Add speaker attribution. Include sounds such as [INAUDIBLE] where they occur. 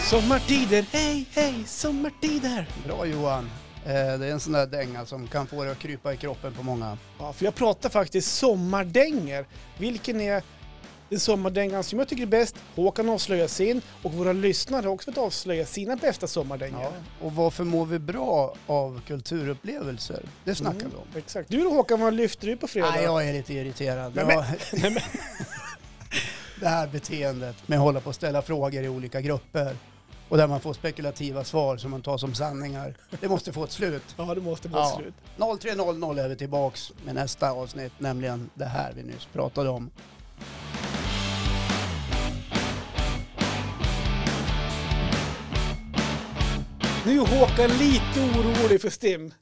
Speaker 1: Sommartider, hej, hej, sommartider!
Speaker 2: Bra Johan. Eh, Det är en sån där dänga som kan få dig att krypa i kroppen på många.
Speaker 1: Ja, för jag pratar faktiskt sommardänger. Vilken är den sommardängan som jag tycker är bäst? Håkan avslöjar sin och våra lyssnare har också fått avslöja sina bästa sommardängor.
Speaker 2: Ja. Och varför mår vi bra av kulturupplevelser? Det snackar vi om.
Speaker 1: Mm, Exakt. Du då Håkan, vad lyfter du på fredag?
Speaker 2: Nej, jag är lite irriterad.
Speaker 1: [LAUGHS] Nej,
Speaker 2: Jag- [LAUGHS] det här beteendet med att hålla på att ställa frågor i olika grupper och där man får spekulativa svar som man tar som sanningar. Det måste få ett slut.
Speaker 1: Ja, det [LAUGHS] måste bli
Speaker 2: Ja.
Speaker 1: slut.
Speaker 2: 03.00 är vi tillbaks med nästa avsnitt, nämligen det här vi nyss pratade om.
Speaker 1: Nu är Håkan lite orolig för STIM.